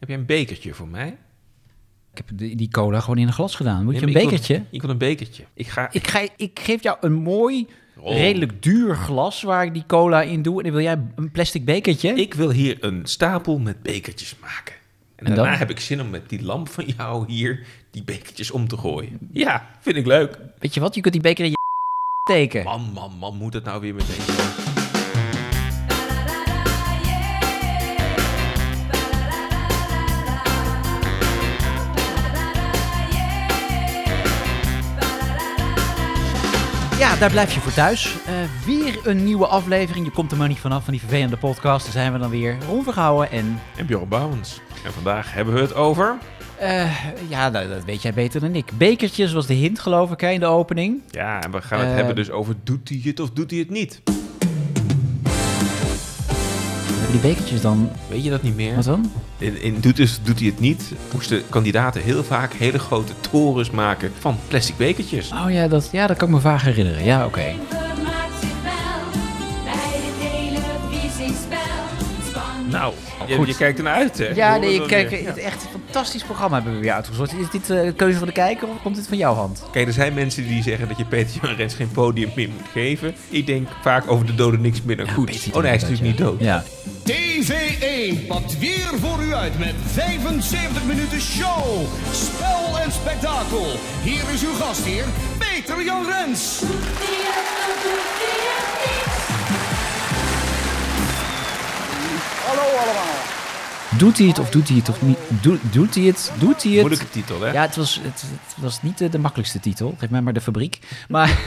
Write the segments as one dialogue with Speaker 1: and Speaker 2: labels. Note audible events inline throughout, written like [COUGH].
Speaker 1: Heb jij een bekertje voor mij?
Speaker 2: Ik heb die, die cola gewoon in een glas gedaan. Moet
Speaker 1: Nee,
Speaker 2: je een
Speaker 1: maar ik wil-
Speaker 2: bekertje?
Speaker 1: ik wil een bekertje. Ik ga...
Speaker 2: Ik, ga, ik geef jou een mooi,
Speaker 1: Oh.
Speaker 2: redelijk duur glas waar ik die cola in doe. En dan wil jij een plastic bekertje?
Speaker 1: Ik wil hier een stapel met bekertjes maken. En,
Speaker 2: En
Speaker 1: daarna
Speaker 2: dan?
Speaker 1: heb ik zin om met die lamp van jou hier die bekertjes om te gooien. Ja, vind ik leuk.
Speaker 2: Weet je wat? Je kunt die beker in je [LAUGHS] steken.
Speaker 1: Man, man, man, moet het nou weer met deze...
Speaker 2: Ja, daar blijf je voor thuis. Eh, weer een nieuwe aflevering. Je komt er maar niet vanaf van die vervelende podcast. Daar zijn we dan weer. Ron Vergouwen en...
Speaker 1: En Bjorn Bouwens. En vandaag hebben we het over...
Speaker 2: eh, ja, nou, dat weet jij beter dan ik. Bekertjes was de hint, geloof ik, hè, in de opening.
Speaker 1: Ja, en we gaan het
Speaker 2: Eh,
Speaker 1: hebben dus over doet hij het of doet hij het niet.
Speaker 2: Hebben die bekertjes dan...
Speaker 1: Weet je dat niet meer?
Speaker 2: Wat dan?
Speaker 1: In, in doet, is, doet hij het niet moesten kandidaten heel vaak hele grote torens maken van plastic bekertjes.
Speaker 2: Oh ja, dat, ja, dat kan ik me vaag herinneren. Ja, oké.
Speaker 3: Vermaakt zich wel bij het televisiespel. Spannend.
Speaker 1: Nou, je,
Speaker 2: goed.
Speaker 1: je kijkt ernaar uit, hè?
Speaker 2: Ja,
Speaker 1: Hoor
Speaker 2: nee,
Speaker 1: dat
Speaker 2: kijk,
Speaker 1: weer. Ja.
Speaker 2: het is echt een fantastisch programma hebben we weer uitgezocht. Is dit eh, de keuze van de kijker of komt dit van jouw hand?
Speaker 1: Kijk, er zijn mensen die zeggen dat je Peter Jan Rens geen podium meer moet geven. Ik denk vaak over de dode niks meer dan goed.
Speaker 2: Peter
Speaker 1: Oh nee, hij is
Speaker 2: Jan Rens,
Speaker 1: natuurlijk niet dood.
Speaker 2: Ja.
Speaker 4: TV1 pakt weer voor u uit met 75 minuten show, spel en spektakel. Hier is uw gastheer, Peter Jan Rens.
Speaker 3: Die het dan doet, die het niet.
Speaker 2: Doet hij het of doet hij het of niet? Doe- doet hij het? Doet hij het?
Speaker 1: Moeilijke titel, hè?
Speaker 2: Ja, het was, het, het was niet eh, de makkelijkste titel. Geef mij maar de fabriek.
Speaker 1: [LAUGHS]
Speaker 2: Maar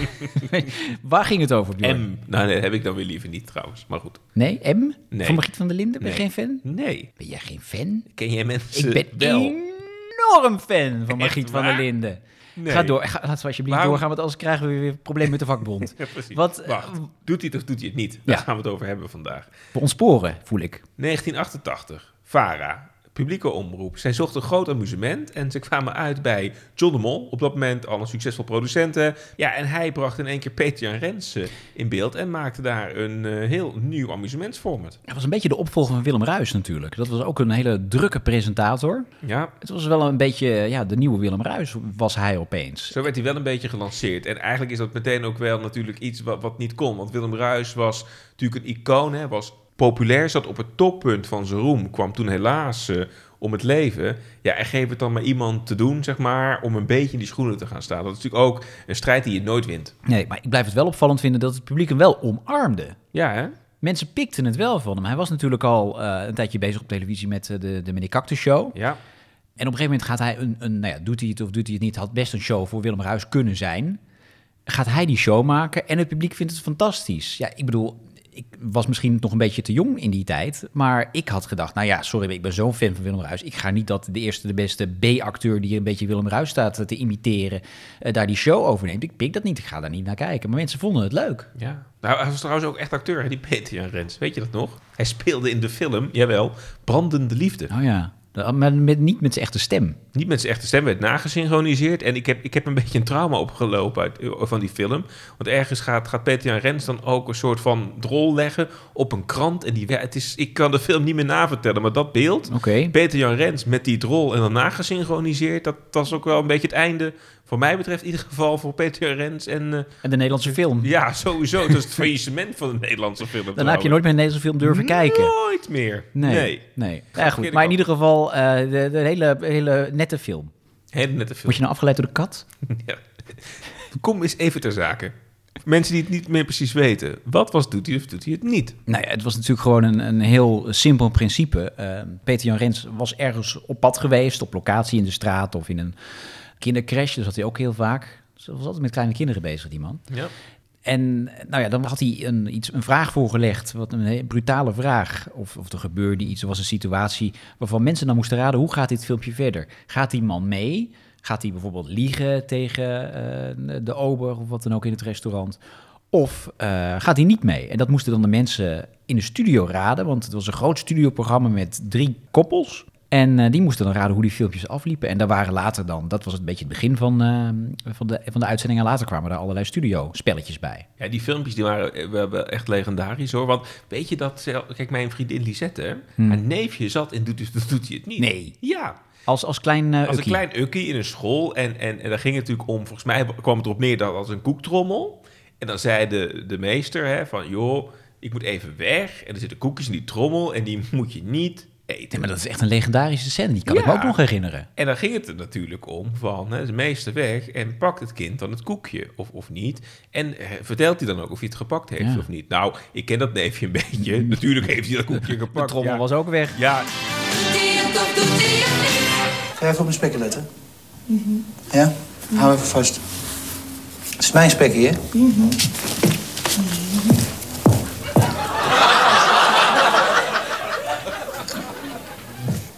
Speaker 2: waar ging het over, Björn?
Speaker 1: M. Nou, nee, dat heb ik dan weer liever niet trouwens. Maar goed.
Speaker 2: Nee, M?
Speaker 1: Nee.
Speaker 2: Van Margriet van der Linden? Ben je
Speaker 1: Nee.
Speaker 2: geen fan?
Speaker 1: Nee.
Speaker 2: Ben jij geen fan?
Speaker 1: Ken jij mensen
Speaker 2: Ik ben
Speaker 1: wel?
Speaker 2: enorm fan van Margriet van der
Speaker 1: waar?
Speaker 2: Linden.
Speaker 1: Nee.
Speaker 2: Ga door. Ga, laten we alsjeblieft
Speaker 1: Waarom?
Speaker 2: doorgaan, want anders krijgen we weer problemen met de vakbond.
Speaker 1: [LAUGHS] Ja, precies.
Speaker 2: Wat, eh,
Speaker 1: Wacht. Doet hij het of doet hij het niet? Daar
Speaker 2: Ja.
Speaker 1: gaan we het over hebben vandaag.
Speaker 2: We ontsporen, voel ik.
Speaker 1: 1988, VARA, publieke omroep. Zij zochten groot amusement en ze kwamen uit bij John de Mol. Op dat moment al een succesvol producent. hè. Ja, en hij bracht in één keer Peter Jan Rens eh, in beeld en maakte daar een eh, heel nieuw amusementsformat.
Speaker 2: Hij was een beetje de opvolger van Willem Ruis natuurlijk. Dat was ook een hele drukke presentator.
Speaker 1: Ja,
Speaker 2: Het was wel een beetje, ja, de nieuwe Willem Ruis was hij opeens.
Speaker 1: zo werd hij wel een beetje gelanceerd. En eigenlijk is dat meteen ook wel natuurlijk iets wat, wat niet kon. Want Willem Ruis was natuurlijk een icoon, hè, was populair, zat op het toppunt van zijn roem. Kwam toen helaas eh, om het leven. Ja, en geef het dan maar iemand te doen, zeg maar, om een beetje in die schoenen te gaan staan. Dat is natuurlijk ook een strijd die je nooit wint.
Speaker 2: Nee, maar ik blijf het wel opvallend vinden dat het publiek hem wel omarmde.
Speaker 1: Ja, hè?
Speaker 2: Mensen pikten het wel van hem. Hij was natuurlijk al eh, een tijdje bezig op televisie met eh, de, de Meneer Cactus Show.
Speaker 1: Ja.
Speaker 2: En op een gegeven moment gaat hij een, een, nou ja, doet hij het of doet hij het niet, had best een show voor Willem Ruis kunnen zijn. Gaat hij die show maken en het publiek vindt het fantastisch. Ja, ik bedoel, ik was misschien nog een beetje te jong in die tijd, maar ik had gedacht, nou ja, sorry, ik ben zo'n fan van Willem Ruis. Ik ga niet dat de eerste, de beste B-acteur die een beetje Willem Ruis staat te imiteren, eh, daar die show overneemt. Ik pik dat niet, ik ga daar niet naar kijken. Maar mensen vonden het leuk.
Speaker 1: Ja. Nou, hij was trouwens ook echt acteur, hè, die Peter Jan Rens. Weet je dat nog? Hij speelde in de film, jawel, Brandende Liefde.
Speaker 2: Nou ja, dat- maar met, niet met zijn echte stem.
Speaker 1: niet met zijn echte stem werd nagesynchroniseerd. En ik heb, ik heb een beetje een trauma opgelopen uit, eh, van die film. Want ergens gaat, gaat Peter Jan Rens dan ook een soort van drol leggen op een krant. En die, wer- het is, ik kan de film niet meer navertellen, maar dat beeld...
Speaker 2: Oké.
Speaker 1: Peter Jan Rens met die drol en dan nagesynchroniseerd... dat was ook wel een beetje het einde, voor mij betreft in ieder geval... voor Peter Jan Rens en eh,
Speaker 2: En de Nederlandse film.
Speaker 1: ja, sowieso. Dat is het faillissement van de Nederlandse
Speaker 2: [LAUGHS]
Speaker 1: film.
Speaker 2: Daarna heb je nooit meer een Nederlandse film durven kijken.
Speaker 1: Nooit meer.
Speaker 2: Nee.
Speaker 1: Nee.
Speaker 2: nee.
Speaker 1: de
Speaker 2: Ja, goed.
Speaker 1: verkeerde
Speaker 2: Maar in
Speaker 1: kant.
Speaker 2: ieder geval, eh, de, de hele, hele nette film.
Speaker 1: Hele nette film.
Speaker 2: Word je nou afgeleid door de kat?
Speaker 1: Ja. Kom eens even ter zake. Mensen die het niet meer precies weten. Wat was doet hij of doet hij het niet?
Speaker 2: Nou ja, het was natuurlijk gewoon een, een heel simpel principe. Eh, Peter Jan Rens was ergens op pad geweest, op locatie in de straat of in een kindercrash. Daar zat hij ook heel vaak. Dus hij was altijd met kleine kinderen bezig, die man.
Speaker 1: Ja.
Speaker 2: En nou ja, dan had hij een, iets, een vraag voorgelegd, wat een hele brutale vraag. Of, of er gebeurde iets, er was een situatie waarvan mensen dan moesten raden, hoe gaat dit filmpje verder? Gaat die man mee? Gaat hij bijvoorbeeld liegen tegen eh, de ober of wat dan ook in het restaurant? Of eh, gaat hij niet mee? En dat moesten dan de mensen in de studio raden, want het was een groot studioprogramma met drie koppels. En eh, die moesten dan raden hoe die filmpjes afliepen. En daar waren later dan, dat was een beetje het begin van, eh, van, de, van de uitzending. En later kwamen daar allerlei studio-spelletjes bij.
Speaker 1: Ja, die filmpjes die waren eh, wel, wel echt legendarisch hoor. Want weet je dat, zelf- kijk, mijn vriendin Lisette, hè, haar neefje zat en doet, dus- doet hij het niet.
Speaker 2: Hmm. Nee.
Speaker 1: Ja,
Speaker 2: Als, als klein. eh,
Speaker 1: als een
Speaker 2: ukkie.
Speaker 1: klein ukkie in een school. En, en, en daar ging het natuurlijk om, volgens mij kwam het erop neer dat als een koektrommel. En dan zei de, de meester hè, van, joh, ik moet even weg. En er zitten koekjes in die trommel en die [LAUGHS] moet je niet eten.
Speaker 2: Nee, maar dat is echt een legendarische scène. Die kan ik
Speaker 1: Ja.
Speaker 2: me ook nog herinneren.
Speaker 1: En dan ging het er natuurlijk om van hè, de meester weg en pakt het kind dan het koekje of, of niet. En eh, vertelt hij dan ook of hij het gepakt heeft
Speaker 2: Ja.
Speaker 1: of niet. Nou, ik ken dat neefje een [LAUGHS] beetje. Natuurlijk heeft hij dat koekje gepakt.
Speaker 2: [LAUGHS] De trommel
Speaker 1: ja.
Speaker 2: was ook weg.
Speaker 1: Ja,
Speaker 3: Doet hij het of doet hij het niet?
Speaker 5: Ga even op mijn spekken letten. Ja? Hou even vast. Het is mijn spekkie, hè?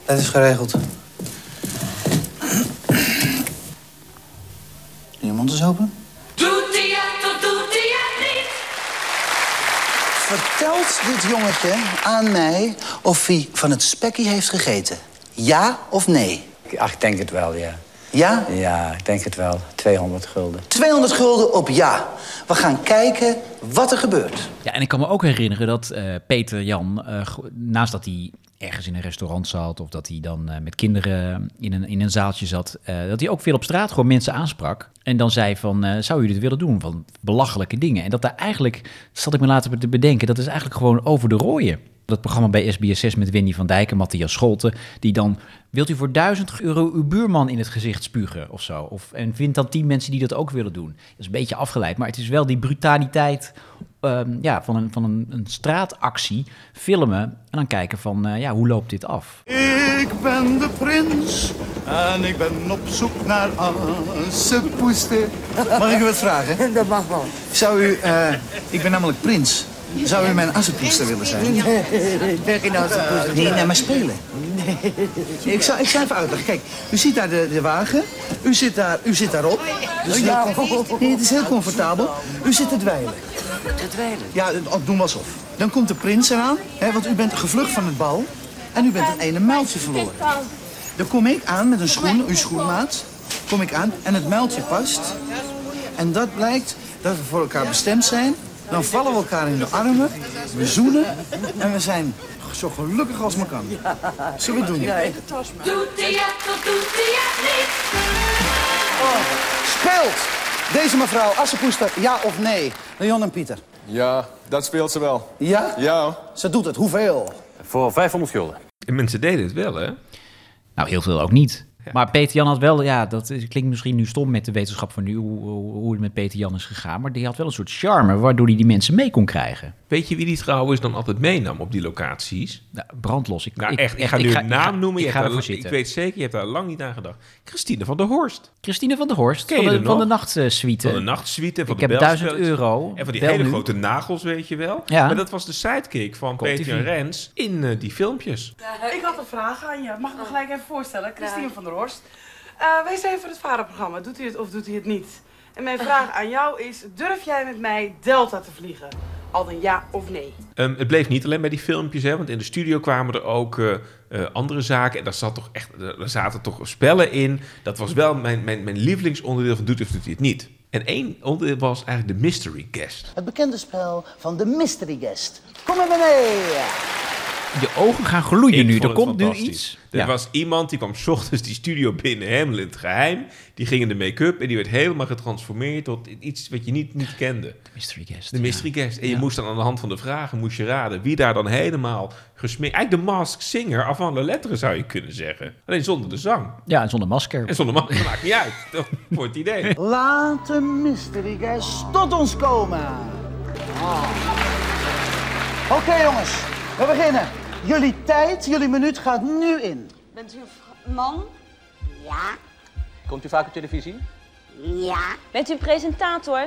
Speaker 5: Dat is geregeld. Doe je mond eens open.
Speaker 3: Doet hij het of doet hij het niet?
Speaker 5: Vertelt dit jongetje aan mij of hij van het spekkie heeft gegeten? Ja of nee?
Speaker 6: Ach, ik denk het wel, ja.
Speaker 5: Ja?
Speaker 6: Ja, ik denk het wel. 200 gulden.
Speaker 5: 200 gulden op ja. We gaan kijken wat er gebeurt.
Speaker 2: Ja, en ik kan me ook herinneren dat eh, Peter Jan, eh, go- naast dat hij ergens in een restaurant zat of dat hij dan eh, met kinderen in een, in een zaaltje zat, eh, dat hij ook veel op straat gewoon mensen aansprak. En dan zei van, eh, zou je dit willen doen? Van belachelijke dingen. En dat daar eigenlijk, dat zat ik me later te bedenken, dat is eigenlijk gewoon over de rooien. Dat programma bij SBS6 met Wendy van Dijk en Matthias Scholten, die dan, wilt u voor 1000 euro uw buurman in het gezicht spugen of zo? Of, en vindt dan 10 mensen die dat ook willen doen. Dat is een beetje afgeleid, maar het is wel die brutaliteit ehm, ja, van, een, van een, een straatactie filmen en dan kijken van eh, ja, hoe loopt dit af?
Speaker 7: Ik ben de prins en ik ben op zoek naar assenpoester.
Speaker 5: Mag ik u wat vragen? [LAUGHS] Dat mag wel. Zou u, eh, ik ben namelijk prins. Zou u mijn assenpoester willen zijn? Nee, geen assenpoester. Nee, nee, maar spelen. Nee. Ik zal, ik zal even uitleggen. Kijk, u ziet daar de, de wagen. U zit, daar, u zit daarop. Dus ja, nee, het is heel comfortabel. U zit te dweilen. Ja, ook doen we alsof. Dan komt de prins eraan, hè, want u bent gevlucht van het bal. En u bent het ene muiltje verloren. Dan kom ik aan met een schoen, uw schoenmaat. Kom ik aan en het muiltje past. En dat blijkt dat we voor elkaar bestemd zijn. Dan vallen we elkaar in de armen, we zoenen en we zijn zo gelukkig als maar kan. Zullen we het doen?
Speaker 3: Doet hij het of doet hij het niet?
Speaker 5: Speelt deze mevrouw Assepoester ja of nee? Leon en Pieter.
Speaker 8: Ja, dat speelt ze wel.
Speaker 5: Ja?
Speaker 8: Ja.
Speaker 5: Ze doet het. Hoeveel?
Speaker 6: Voor 500 gulden.
Speaker 1: en mensen deden het wel hè.
Speaker 2: Nou, heel veel ook niet. Maar Peter Jan had wel, ja, dat is- klinkt misschien nu stom met de wetenschap van nu, hoe, hoe, hoe het met Peter Jan is gegaan. Maar die had wel een soort charme waardoor hij die mensen mee kon krijgen.
Speaker 1: Weet je wie die trouwens dan altijd meenam op die locaties?
Speaker 2: Nou, brandlos. Ik,
Speaker 1: Nou
Speaker 2: ik-
Speaker 1: echt, ik ga nu een
Speaker 2: ik
Speaker 1: naam
Speaker 2: ga-
Speaker 1: noemen.
Speaker 2: Ik
Speaker 1: je
Speaker 2: ga
Speaker 1: hebt
Speaker 2: ervoor
Speaker 1: daar- ik
Speaker 2: zitten.
Speaker 1: weet zeker, je hebt daar lang niet aan gedacht. Christine van der Horst.
Speaker 2: Christine van der Horst
Speaker 1: Ken je
Speaker 2: van de,
Speaker 1: haar
Speaker 2: van de eh,
Speaker 1: nog?
Speaker 2: nachtsuite.
Speaker 1: Van de nachtsuite, en van
Speaker 2: Ik
Speaker 1: de
Speaker 2: heb 1000
Speaker 1: belspelletjes.
Speaker 2: euro.
Speaker 1: En van die
Speaker 2: Bel
Speaker 1: hele
Speaker 2: nu.
Speaker 1: grote nagels, weet je wel.
Speaker 2: Ja.
Speaker 1: Maar dat was de sidekick van
Speaker 2: Op
Speaker 1: Peter
Speaker 2: TV.
Speaker 1: en Rens in eh, die filmpjes.
Speaker 9: Ik had een vraag aan je. Mag ik me gelijk even voorstellen? Christine van der Horst. Eh, wij zijn voor het varenprogramma. Doet hij het of doet hij het niet? En mijn vraag aan jou is, durf jij met mij Delta te vliegen? Al dan ja of nee?
Speaker 1: Ehm, het bleef niet alleen bij die filmpjes, hè, want in de studio kwamen er ook eh, eh, andere zaken. En daar, zat toch echt, daar zaten toch spellen in. Dat was wel mijn, mijn, mijn lievelingsonderdeel van Doet of Doet hij het niet. En één onderdeel was eigenlijk de mystery guest.
Speaker 5: Het bekende spel van de mystery guest. Kom maar mee.
Speaker 2: Je ogen gaan gloeien
Speaker 1: Ik
Speaker 2: nu.
Speaker 1: vond
Speaker 2: Er
Speaker 1: het
Speaker 2: komt nu
Speaker 1: fantastisch.
Speaker 2: iets.
Speaker 1: Er
Speaker 2: Ja.
Speaker 1: was iemand die kwam 's ochtends die studio binnen, helemaal in het geheim. Die ging in de make-up en die werd helemaal getransformeerd tot iets wat je niet, niet kende.
Speaker 2: Mystery guest.
Speaker 1: De
Speaker 2: ja.
Speaker 1: mystery guest. En je moest dan aan de hand van de vragen moest je raden wie daar dan helemaal gesmeerd... Eigenlijk de mask singer avant de letteren zou je kunnen zeggen. Alleen zonder de zang.
Speaker 2: Ja, en zonder masker.
Speaker 1: En zonder mask [LAUGHS] maakt niet uit. Dat- Voor het idee.
Speaker 5: Laat de mystery guest tot ons komen. Ah. Oké jongens, we beginnen. Jullie tijd, jullie minuut gaat nu in.
Speaker 10: Bent u een vr- man? Ja.
Speaker 6: Komt u vaak op televisie?
Speaker 10: Ja. Bent u een presentator?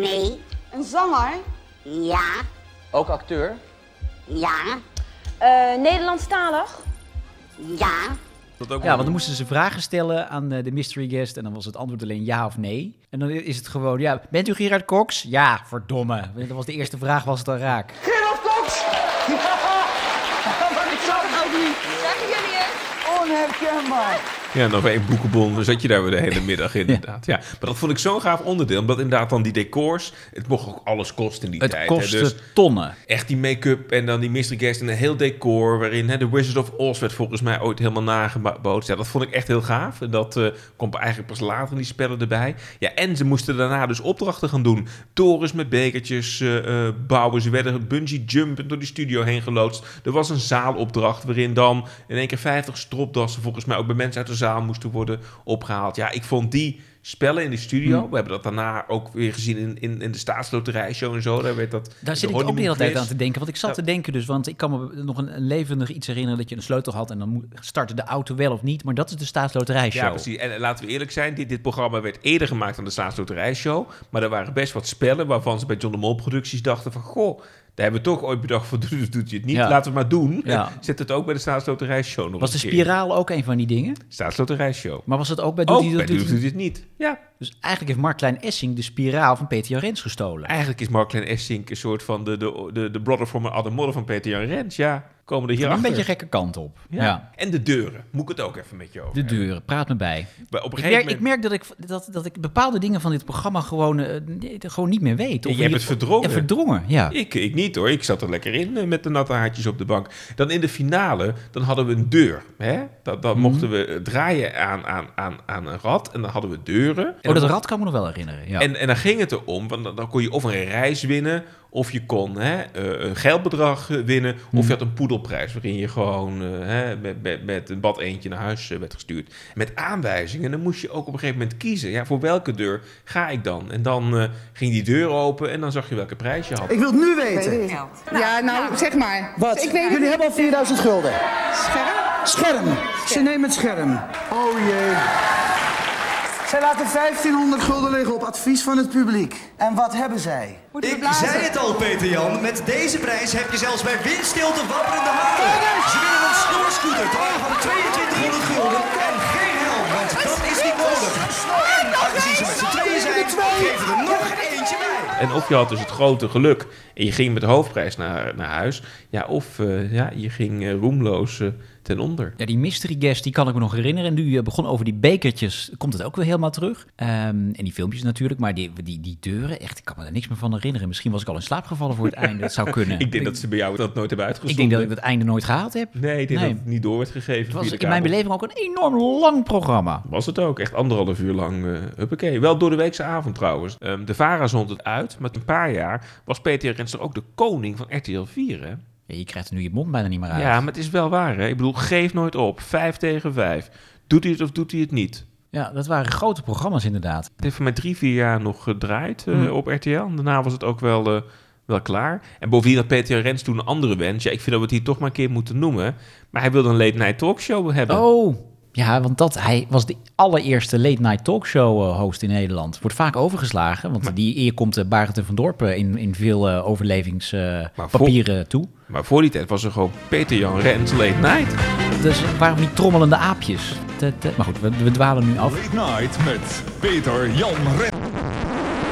Speaker 10: Nee. Een zanger? Ja.
Speaker 6: Ook acteur?
Speaker 10: Ja. Eh, Nederlandstalig? Ja.
Speaker 1: Dat ook
Speaker 2: Ja, want dan moesten ze vragen stellen aan eh, de mystery guest en dan was het antwoord alleen ja of nee. En dan is het gewoon, ja, bent u Gerard Cox? Ja, verdomme. Dat was de eerste vraag, was het al raak.
Speaker 5: Gerard Cox! Ja, maar ik zou het ook niet.
Speaker 10: Zeggen jullie het?
Speaker 11: onherkenbaar.
Speaker 1: Ja, nog één boekenbon. Dan zat je daar weer de hele
Speaker 2: [LAUGHS]
Speaker 1: middag inderdaad. Ja. Maar dat vond ik zo'n gaaf onderdeel. Omdat inderdaad dan die decors... Het mocht ook alles kosten in die
Speaker 2: Het
Speaker 1: tijd. hè.
Speaker 2: kostte
Speaker 1: Dus
Speaker 2: tonnen.
Speaker 1: Echt die make-up en dan die mystery guest en een heel decor... waarin hè, de Wizard of Oz werd volgens mij ooit helemaal nagebootst. Ja, dat vond ik echt heel gaaf. En dat eh komt eigenlijk pas later in die spellen erbij. Ja, en ze moesten daarna dus opdrachten gaan doen. Torens met bekertjes eh, eh, bouwen. Ze werden bungee jumpen door die studio heen geloodst. Er was een zaalopdracht waarin dan in één keer 50 stropdassen... volgens mij ook bij mensen uit de zaal moesten worden opgehaald. Ja, ik vond die... Spellen in de studio.
Speaker 2: Hmm.
Speaker 1: We hebben dat daarna ook weer gezien in, in, in de staatsloterijshow en zo. Daar werd dat
Speaker 2: Daar zit ik ook de hele tijd aan te denken. Want ik zat te denken dus, want ik kan me nog een, een levendig iets herinneren... dat je een sleutel had en dan moet- startte de auto wel of niet. Maar dat is de staatsloterijshow.
Speaker 1: Ja, precies. En eh, laten we eerlijk zijn, dit, dit programma werd eerder gemaakt dan de Staatsloterijshow. Maar er waren best wat spellen waarvan ze bij John de Mol producties dachten van... Goh, daar hebben we toch ooit bedacht [LAUGHS] van, doet, doet je het niet.
Speaker 2: Ja.
Speaker 1: Laten we het maar doen.
Speaker 2: Ja.
Speaker 1: [LAUGHS] Zet het ook bij de Staatsloterijshow nog
Speaker 2: Was de
Speaker 1: een keer.
Speaker 2: spiraal ook een van die dingen?
Speaker 1: Staatsloterijshow.
Speaker 2: Maar was het ook bij
Speaker 1: Ook
Speaker 2: Doet hij
Speaker 1: bij
Speaker 2: dat?
Speaker 1: Doet
Speaker 2: Doet
Speaker 1: hij het niet? Ja.
Speaker 2: Dus eigenlijk heeft Mark Klein Essing de spiraal van Peter Jan Rens gestolen.
Speaker 1: Eigenlijk is Mark Klein Essink een soort van de, de, de, de brother from another mother van Peter Jan Rens. Ja, komen er hier
Speaker 2: Een beetje gekke kant op.
Speaker 1: Ja.
Speaker 2: Ja.
Speaker 1: En de deuren. Moet ik het ook even met je over
Speaker 2: De
Speaker 1: hebben.
Speaker 2: deuren, praat me bij.
Speaker 1: Maar op een
Speaker 2: ik,
Speaker 1: gegeven
Speaker 2: merk,
Speaker 1: moment-
Speaker 2: ik merk dat ik, dat, dat ik bepaalde dingen van dit programma gewoon, eh, nee, gewoon niet meer weet.
Speaker 1: Je
Speaker 2: Of
Speaker 1: hebt
Speaker 2: niet-
Speaker 1: het verdrongen.
Speaker 2: Ja, verdrongen, ja.
Speaker 1: Ik, ik niet hoor. Ik zat er lekker in eh, met de natte haartjes op de bank. Dan in de finale, dan hadden we een deur. Hè? Dan,
Speaker 2: Mhm.
Speaker 1: dan mochten we eh, draaien aan, aan, aan, aan een rad. En dan hadden we deuren. En
Speaker 2: Oh, dat
Speaker 1: dan-
Speaker 2: rad kan me nog wel herinneren. Ja.
Speaker 1: En, en dan ging het erom, want dan, dan kon je of een reis winnen, of je kon hè, eh, een geldbedrag eh, winnen,
Speaker 2: Mhm.
Speaker 1: of je had een poedelprijs waarin je gewoon eh, hè, met, met, met een bad eentje naar huis eh, werd gestuurd. Met aanwijzingen, en dan moest je ook op een gegeven moment kiezen, ja, voor welke deur ga ik dan? En dan eh, ging die deur open en dan zag je welke prijs je had.
Speaker 11: Ik wil het nu weten.
Speaker 12: ja, nou, zeg maar.
Speaker 11: Wat?
Speaker 12: Ik weet
Speaker 11: Jullie hebben al 4000 gulden.
Speaker 12: Scherp?
Speaker 11: Scherm. Ze nemen het scherm. Oh jee. Zij laten 1500 gulden liggen op advies van het publiek. En wat hebben zij?
Speaker 13: Ik zei het al, Peter Jan. Met deze prijs heb je zelfs bij windstilte wapperende haren. Ze winnen een snoerscooter ter waarde van 2200 gulden en geen helm, want dat is niet nodig. En aangezien ze met z'n tweeën zijn, geven we er nog eentje bij.
Speaker 1: En of je had dus het grote geluk en je ging met de hoofdprijs naar, naar huis, ja, of eh, ja, je ging eh, roemloos eh, ten onder.
Speaker 2: Ja, die mystery guest, die kan ik me nog herinneren. En nu eh, begon over die bekertjes, komt het ook weer helemaal terug. Ehm, en die filmpjes natuurlijk, maar die, die, die deuren, echt, ik kan me daar niks meer van herinneren. Misschien was ik al in slaap
Speaker 1: [LAUGHS]
Speaker 2: gevallen voor het einde, dat zou kunnen.
Speaker 1: ik denk dat ze bij jou dat nooit hebben
Speaker 2: ik
Speaker 1: uitgezonden.
Speaker 2: denk dat ik dat einde nooit gehaald heb.
Speaker 1: Nee, ik denk
Speaker 2: Nee.
Speaker 1: dat het niet door werd gegeven.
Speaker 2: Het was
Speaker 1: via de
Speaker 2: in mijn
Speaker 1: kabel.
Speaker 2: beleving ook een enorm lang programma.
Speaker 1: Was het ook, echt anderhalf uur lang. eh huppakee. Wel door de weekse avond trouwens. Ehm, de Vara zond het uit, maar een paar jaar was Peter Renster ook de koning van RTL 4. Hè?
Speaker 2: Ja, je krijgt er nu je mond bijna niet meer uit.
Speaker 1: Ja, maar het is wel waar. Hè? Ik bedoel, geef nooit op. Vijf tegen vijf. Doet hij het of doet hij het niet?
Speaker 2: Ja, dat waren grote programma's inderdaad.
Speaker 1: Het heeft voor mij drie, vier jaar nog gedraaid eh,
Speaker 2: Hmm.
Speaker 1: op RTL. En daarna was het ook wel, eh, wel klaar. En bovendien had Peter Rens toen een andere wens. Ja, ik vind dat we het hier toch maar een keer moeten noemen. Maar hij wilde een late-night talkshow hebben.
Speaker 2: Oh, ja, want dat, hij was de allereerste late night talkshow eh, host in Nederland. Wordt vaak overgeslagen, want die eer komt eh, Barend en van Dorpen in, in veel eh,
Speaker 1: voor-
Speaker 2: overlevingspapieren eh, toe.
Speaker 1: Maar voor die tijd was er gewoon Peter Jan Rens late night.
Speaker 2: Dus waarom die trommelende aapjes? Dat, eh, maar goed, we, we dwalen nu af.
Speaker 14: Night met Peter Jan Ren.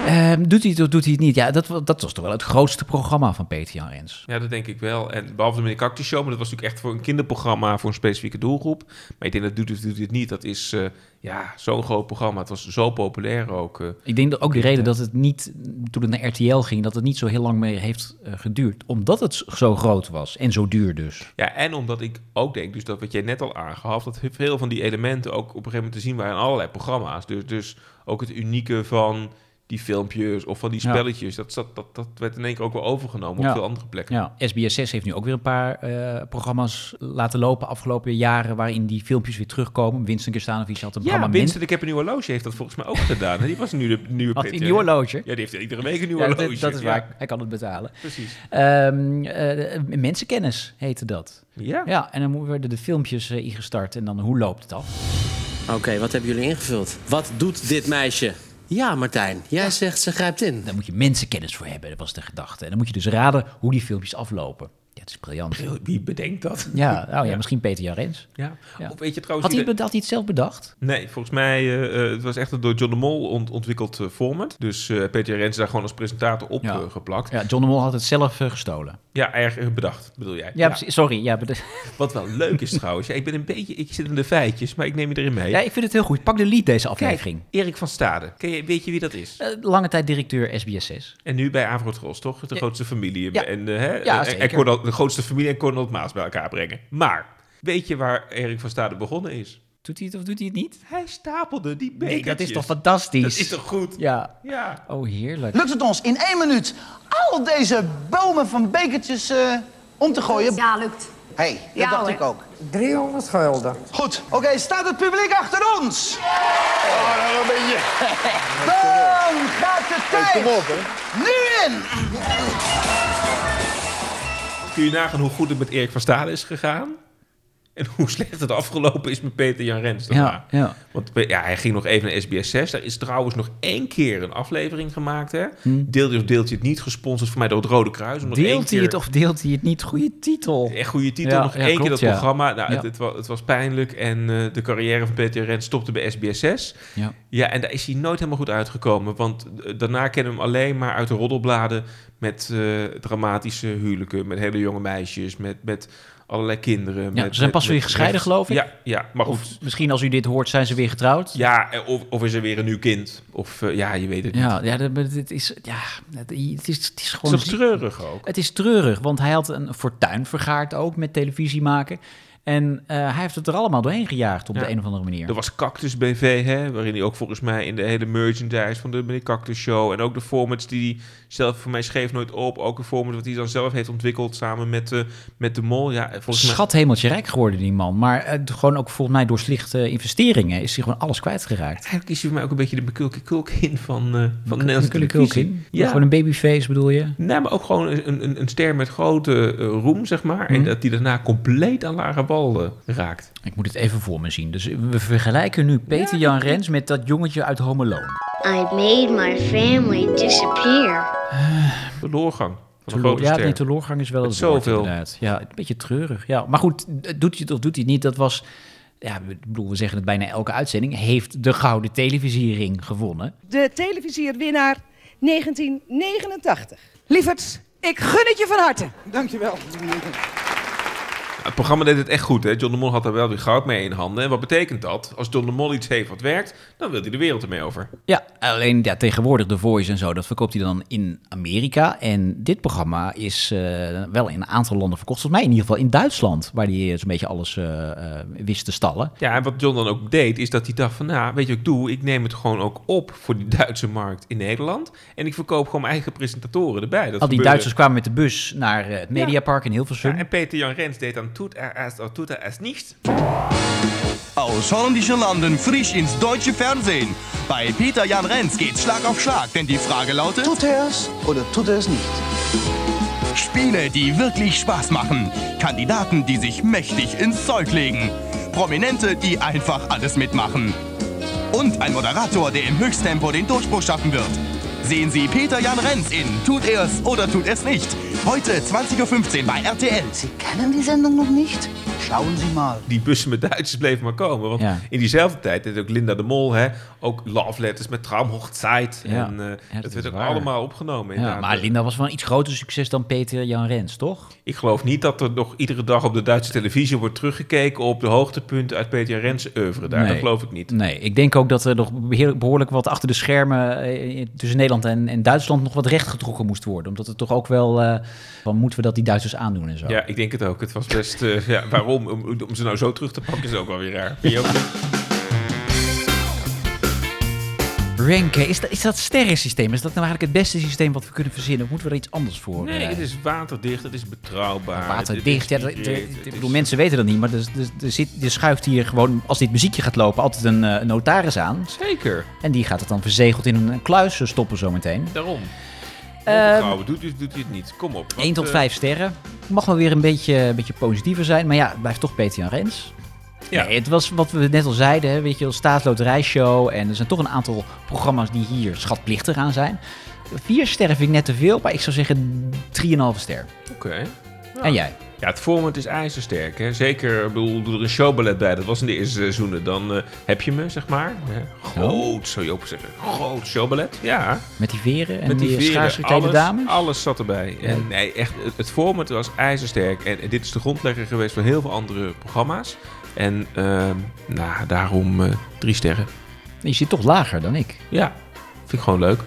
Speaker 2: Ehm, doet hij het of doet hij het niet? Ja, dat, wa- dat was toch wel het grootste programma van Peter Jan Rens.
Speaker 1: Ja, dat denk ik wel. En behalve de Meneer Cactus Show, maar dat was natuurlijk echt voor een kinderprogramma, voor een specifieke doelgroep. Maar ik denk dat doet het, doet het niet. Dat is eh, ja, zo'n groot programma. Het was zo populair ook. eh.
Speaker 2: Ik denk dat ook de reden dat het niet, toen het naar RTL ging, dat het niet zo heel lang meer heeft eh, geduurd. Omdat het zo groot was en zo duur dus.
Speaker 1: Ja, en omdat ik ook denk, dus dat wat jij net al aangaf, dat veel van die elementen ook op een gegeven moment te zien waren in allerlei programma's. Dus, dus ook het unieke van die filmpjes of van die
Speaker 2: Ja.
Speaker 1: spelletjes, dat, dat, dat, dat werd in één keer ook wel overgenomen op veel andere plekken.
Speaker 2: Ja. SBS6 heeft nu ook weer een paar eh, programma's laten lopen afgelopen jaren waarin die filmpjes weer terugkomen. Winston Kerstanovic had een
Speaker 1: Ja,
Speaker 2: programma
Speaker 1: Winston, ik heb een nieuw horloge, heeft dat volgens mij ook gedaan. hè? Die was nu de nieuwe
Speaker 2: Had hij
Speaker 1: Peter.
Speaker 2: een nieuw horloge?
Speaker 1: Ja, die heeft iedere week een nieuw
Speaker 2: Ja, dat-
Speaker 1: horloge.
Speaker 2: dat is
Speaker 1: Ja.
Speaker 2: waar. Hij kan het betalen.
Speaker 1: Precies.
Speaker 2: Ehm, eh, mensenkennis heette dat.
Speaker 1: Ja.
Speaker 2: ja, en dan werden de filmpjes eh, ingestart en dan hoe loopt het af?
Speaker 15: Oké, wat hebben jullie ingevuld? Wat doet dit meisje? Ja, Martijn, jij zegt ze grijpt in.
Speaker 2: Daar moet je mensenkennis voor hebben, dat was de gedachte. En dan moet je dus raden hoe die filmpjes aflopen. het is briljant.
Speaker 1: Wie bedenkt dat?
Speaker 2: Ja, oh ja, misschien Peter Jarens.
Speaker 1: Ja.
Speaker 2: Ja.
Speaker 1: Of weet je
Speaker 2: Had
Speaker 1: trouwens...
Speaker 2: hij,
Speaker 1: niet-
Speaker 2: be- had hij het zelf bedacht?
Speaker 1: Nee, volgens mij eh, eh, het was echt een door John de Mol ont- ontwikkeld eh, format. Dus eh, Peter Rens daar gewoon als presentator op
Speaker 2: Ja.
Speaker 1: eh, geplakt.
Speaker 2: Ja, John de Mol had het zelf eh, gestolen.
Speaker 1: Ja, erg bedacht, bedoel jij.
Speaker 2: Ja, precies, sorry. Ja,
Speaker 1: Wat wel leuk is trouwens. Ja, ik ben een beetje... Ik zit in de feitjes, maar ik neem je erin mee.
Speaker 2: ja, ik vind het heel goed. Pak de lead deze aflevering.
Speaker 1: Erik van Stade. Ken je, weet je wie dat is?
Speaker 2: Eh, lange tijd directeur SBS6.
Speaker 1: En nu bij Avro Tros, toch? De grootste familie.
Speaker 2: Ja.
Speaker 1: En, eh, hè,
Speaker 2: Ja,
Speaker 1: en- en
Speaker 2: zeker.
Speaker 1: Cornel- de grootste familie en Cornel Maas bij elkaar brengen. Maar, weet je waar Erik van Stade begonnen is?
Speaker 2: Doet hij het of doet hij het niet?
Speaker 1: Hij stapelde die
Speaker 2: Nee,
Speaker 1: bekertjes.
Speaker 2: dat is toch fantastisch?
Speaker 1: Dat is toch goed?
Speaker 2: Ja.
Speaker 1: Ja.
Speaker 2: Oh, heerlijk.
Speaker 5: Lukt het ons in één minuut al deze bomen van bekertjes eh, om te gooien? Ja, lukt. Hé, hey, dat
Speaker 16: Ja,
Speaker 5: dacht
Speaker 16: hoor.
Speaker 5: ik ook. 300 gulden. Goed, oké, staat het publiek achter ons? Oh, dan ben je. [LAUGHS] Dan gaat de tijd nu in!
Speaker 1: Kun je nagaan hoe goed het met Erik van Stade is gegaan? En hoe [LAUGHS] slecht het afgelopen is met Peter Jan Rens. daarna.
Speaker 2: ja.
Speaker 1: Want ja, hij ging nog even naar SBS 6. Daar is trouwens nog één keer een aflevering gemaakt. Hè?
Speaker 2: Hm.
Speaker 1: Deeltje of deeltje het niet, gesponsord voor mij door het Rode Kruis. Om nog één
Speaker 2: Deelt hij
Speaker 1: keer-
Speaker 2: het of deelt hij het niet? Goede titel.
Speaker 1: Echt goede titel,
Speaker 2: Ja,
Speaker 1: nog
Speaker 2: ja,
Speaker 1: één keer
Speaker 2: klopt,
Speaker 1: dat
Speaker 2: ja.
Speaker 1: programma. Nou,
Speaker 2: Ja.
Speaker 1: het, het, was, het was pijnlijk en eh, de carrière van Peter Rens stopte bij SBS6.
Speaker 2: Ja.
Speaker 1: ja, en daar is hij nooit helemaal goed uitgekomen. Want eh, daarna kennen we hem alleen maar uit de roddelbladen... met eh, dramatische huwelijken, met hele jonge meisjes, met, met allerlei kinderen.
Speaker 2: Ja,
Speaker 1: met,
Speaker 2: ze zijn
Speaker 1: met-
Speaker 2: pas weer
Speaker 1: met
Speaker 2: gescheiden,
Speaker 1: rechts-
Speaker 2: geloof ik.
Speaker 1: Ja, ja maar goed.
Speaker 2: Of misschien als u dit hoort, zijn ze weer getrouwd.
Speaker 1: ja, eh, of, of is er weer een nieuw kind. Of eh, ja, je weet het niet.
Speaker 2: Ja, ja, dat- maar dit is, ja het, het is, het is
Speaker 1: Het is
Speaker 2: gewoon...
Speaker 1: toch treurig ook?
Speaker 2: Het is treurig, want hij had een fortuin vergaard ook met televisie maken. En eh, hij heeft het er allemaal doorheen gejaagd op
Speaker 1: Ja.
Speaker 2: de een of andere manier.
Speaker 1: Er was Cactus BV, hè, waarin hij ook volgens mij in de hele merchandise van de meneer Cactus Show... en ook de formats die hij zelf voor mij schreef nooit op. Ook een format wat hij dan zelf heeft ontwikkeld samen met, eh, met de mol. Ja, eh, volgens mij...
Speaker 2: Schat hemeltje rijk geworden, die man. Maar eh, gewoon ook volgens mij door slechte investeringen is hij gewoon alles kwijtgeraakt.
Speaker 1: Eigenlijk is hij voor mij ook een beetje de bekulke kulkin van, eh van de Nederlandse
Speaker 2: Kulke
Speaker 1: televisie.
Speaker 2: Kulkin? Gewoon een babyface bedoel je?
Speaker 1: Nee, maar ook gewoon een, een, een ster met grote eh, roem, zeg maar. En
Speaker 2: Mhm.
Speaker 1: dat die daarna compleet aan lage bal eh, raakt.
Speaker 2: Ik moet het even voor me zien. Dus we vergelijken nu Peter Jan Rens met dat jongetje uit Home Alone.
Speaker 17: I made my family disappear.
Speaker 1: De doorgang van een
Speaker 2: Teloor-
Speaker 1: grote
Speaker 2: ja,
Speaker 1: ster.
Speaker 2: nee, teleurgang is wel
Speaker 1: Met
Speaker 2: het woord,
Speaker 1: zoveel.
Speaker 2: inderdaad. Ja, een beetje treurig. Ja, maar goed, d- doet hij het of doet hij het niet? Dat was, ja, ik bedoel, we zeggen het bijna elke uitzending, heeft de gouden televisiering gewonnen.
Speaker 18: de televisierwinnaar 1989. Lieverds, ik gun het je van harte. Dankjewel.
Speaker 1: Het programma deed het echt goed. Hè? John de Mol had daar wel weer goud mee in handen. En wat betekent dat? Als John de Mol iets heeft wat werkt, dan wil hij de wereld ermee over.
Speaker 2: Ja, alleen ja, tegenwoordig The Voice en zo, dat verkoopt hij dan in Amerika. En dit programma is eh, wel in een aantal landen verkocht. Volgens mij in ieder geval in Duitsland, waar hij eh, zo'n beetje alles eh, eh, wist te stallen.
Speaker 1: Ja, en wat John dan ook deed, is dat hij dacht van... Nou, weet je wat ik doe? Ik neem het gewoon ook op voor die Duitse markt in Nederland. En ik verkoop gewoon mijn eigen presentatoren erbij. Dat
Speaker 2: Al die
Speaker 1: gebeurde-
Speaker 2: Duitsers kwamen met de bus naar eh, het
Speaker 1: Ja.
Speaker 2: Mediapark in Hilversum.
Speaker 1: Ja, en Peter Jan Rens deed dan toet er als oh, toet er als niet.
Speaker 4: Aus holländischen Landen frisch ins deutsche Fernsehen. Bei Peter Jan Renz geht's Schlag auf Schlag, denn die Frage lautet: Tut er es oder tut er es nicht? Spiele, die wirklich Spaß machen. Kandidaten, die sich mächtig ins Zeug legen. Prominente, die einfach alles mitmachen. Und ein Moderator, der im Höchsttempo den Durchbruch schaffen wird. Sehen Sie Peter Jan Renz in Tut er's oder tut er's nicht. Heute 20.15 Uhr bei RTL. Sie kennen die Sendung noch nicht? Schauen Sie mal.
Speaker 1: Die bussen met Duitsers bleven maar komen. Want
Speaker 2: Ja.
Speaker 1: in diezelfde tijd deed ook Linda de Mol... Hè, ook love letters met Traumhochzeit.
Speaker 2: Ja.
Speaker 1: En eh,
Speaker 2: Ja,
Speaker 1: dat
Speaker 2: dat
Speaker 1: werd
Speaker 2: is
Speaker 1: ook
Speaker 2: waar.
Speaker 1: allemaal opgenomen.
Speaker 2: Ja,
Speaker 1: inderdaad.
Speaker 2: maar Linda was wel een iets groter succes dan Peter Jan Rens, toch?
Speaker 1: Ik geloof niet dat er nog iedere dag op de Duitse televisie wordt teruggekeken op de hoogtepunten uit Peter Rens oeuvre daar. Dat
Speaker 2: Nee.
Speaker 1: geloof ik niet.
Speaker 2: Nee, ik denk ook dat er nog beheer- behoorlijk wat achter de schermen eh, tussen Nederland en, en Duitsland nog wat rechtgetrokken moest worden. Omdat het toch ook wel eh, van moeten we dat die Duitsers aandoen en zo.
Speaker 1: Ja, ik denk het ook. Het was best... eh, ja, waarom? Om, om ze nou zo terug te pakken is ook wel weer raar. Vind je ook niet?
Speaker 2: Ranken, is dat, is dat sterrensysteem? Is dat nou eigenlijk het beste systeem wat we kunnen verzinnen? Of moeten we er iets anders voor?
Speaker 1: Nee,
Speaker 2: eh,
Speaker 1: het is waterdicht, het is betrouwbaar.
Speaker 2: Waterdicht. Ja,
Speaker 1: het
Speaker 2: er- er-
Speaker 1: inspireert,
Speaker 2: ik
Speaker 1: het
Speaker 2: bedoel, mensen weten dat niet, maar er, er, er zit, er schuift hier gewoon, als dit muziekje gaat lopen, altijd een eh, notaris aan.
Speaker 1: Zeker.
Speaker 2: En die gaat het dan verzegeld in een kluis stoppen zometeen.
Speaker 1: is- Daarom.
Speaker 2: Ehm,
Speaker 1: Onvertrouwen, doet, doet, doet hij het niet. Kom op. eh,
Speaker 2: 1 tot 5
Speaker 1: vijf
Speaker 2: sterren. Mag wel weer een beetje, een beetje positiever zijn. Maar ja, het blijft toch Peter Jan Rens.
Speaker 1: Ja.
Speaker 2: Nee, het was wat we net al zeiden, hè, weet je, wel, staatsloterijshow. En er zijn toch een aantal programma's die hier schatplichtig aan zijn. Vier sterren vind ik net te veel, maar ik zou zeggen 3,5 ster.
Speaker 1: Oké.
Speaker 2: En jij?
Speaker 1: Ja, het format is ijzersterk. Hè? Zeker, ik bedoel, doe er een showballet bij. Dat was in de eerste seizoenen. Dan eh, heb je me, zeg maar. Hè? Groot, zou je ook zeggen. Groot showballet. Ja.
Speaker 2: Met die veren en
Speaker 1: Met
Speaker 2: die,
Speaker 1: veren,
Speaker 2: schaars geklede
Speaker 1: alles-
Speaker 2: dames?
Speaker 1: Alles zat erbij. En nee, echt, het, het format was ijzersterk. En, en dit is de grondlegger geweest van heel veel andere programma's. En ehm, nou, daarom eh, drie sterren.
Speaker 2: Je zit toch lager dan ik.
Speaker 1: Ja, vind ik gewoon leuk.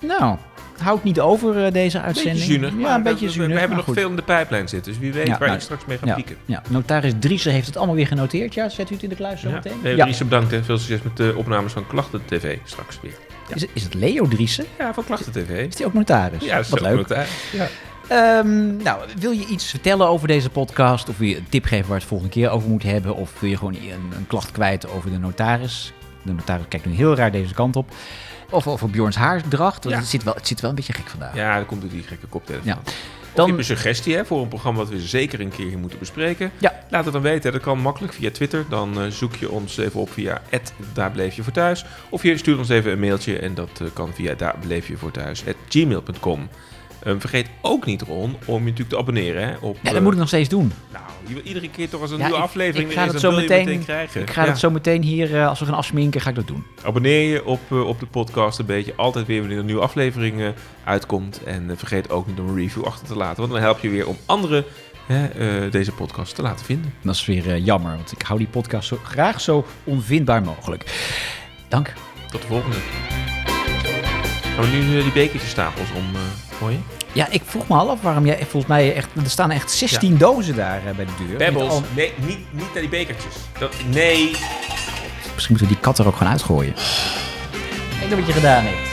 Speaker 2: Nou, houdt niet over eh, deze uitzending.
Speaker 1: Beetje zuinig.
Speaker 2: Ja, een
Speaker 1: maar
Speaker 2: beetje
Speaker 1: we- we-
Speaker 2: zuinig.
Speaker 1: We, hebben
Speaker 2: maar
Speaker 1: nog
Speaker 2: goed.
Speaker 1: veel in de pijplijn zitten. Dus wie weet
Speaker 2: Ja,
Speaker 1: waar
Speaker 2: nou,
Speaker 1: ik straks mee ga
Speaker 2: ja,
Speaker 1: pieken.
Speaker 2: Ja, notaris Driessen heeft het allemaal weer genoteerd. Ja, zet u het in de kluis zo meteen.
Speaker 1: Nee,
Speaker 2: Ja.
Speaker 1: Dries, bedankt en veel succes met de opnames van Klachten TV straks weer. Ja.
Speaker 2: Is, is het Leo Driessen?
Speaker 1: Ja, van Klachten TV.
Speaker 2: Is die ook notaris?
Speaker 1: Ja, dat is
Speaker 2: Wat
Speaker 1: ook
Speaker 2: leuk.
Speaker 1: notaris. Ja.
Speaker 2: Ehm, nou, wil je iets vertellen over deze podcast? Of wil je een tip geven waar we het volgende keer over moeten hebben? Of wil je gewoon een, een klacht kwijt over de notaris? De notaris kijkt nu heel raar deze kant op. Of over Bjorns haardracht. want
Speaker 1: Ja.
Speaker 2: Het, zit wel, het zit wel een beetje gek vandaag.
Speaker 1: Ja, dat komt door die gekke koptelefoon.
Speaker 2: Ja.
Speaker 1: Dan... heb je een suggestie hè, voor een programma wat we zeker een keer moeten bespreken? Laat het dan weten. Dat kan makkelijk via Twitter. Dan eh, zoek je ons even op via daar bleef je voor thuis. Of je stuurt ons even een mailtje en dat eh, kan via daar bleef je voor thuis gmail.com. Ehm, vergeet ook niet, Ron, om je natuurlijk te abonneren. Hè, op,
Speaker 2: Ja, dat
Speaker 1: eh, nou,
Speaker 2: moet ik nog steeds doen.
Speaker 1: je wil iedere keer toch als een
Speaker 2: Ja,
Speaker 1: nieuwe
Speaker 2: ik-
Speaker 1: aflevering
Speaker 2: ik
Speaker 1: er
Speaker 2: ga
Speaker 1: is,
Speaker 2: dat
Speaker 1: dan
Speaker 2: zo
Speaker 1: wil je het
Speaker 2: meteen-
Speaker 1: krijgen.
Speaker 2: Ik ga
Speaker 1: Ja.
Speaker 2: dat zo meteen hier, eh, als we gaan afsminken, ga ik dat doen.
Speaker 1: Abonneer je op, eh, op de podcast een beetje. Altijd weer wanneer er een nieuwe aflevering eh, uitkomt. En eh, vergeet ook niet om een review achter te laten. Want dan help je weer om anderen hè, eh, deze podcast te laten vinden.
Speaker 2: Dat is weer eh, jammer, want ik hou die podcast zo, graag zo onvindbaar mogelijk. Dank.
Speaker 1: Tot de volgende. Gaan we nu eh, die bekertjesstapels om eh gooien?
Speaker 2: Ja, ik vroeg me al af waarom jij volgens mij echt... Er staan echt 16
Speaker 1: Ja.
Speaker 2: dozen daar eh, bij de deur. Met
Speaker 1: Pebbles,
Speaker 2: al-
Speaker 1: nee, niet, niet naar die bekertjes. Dat, nee.
Speaker 2: Misschien moeten we die kat er ook gaan uitgooien. Kijk nou wat je gedaan hebt.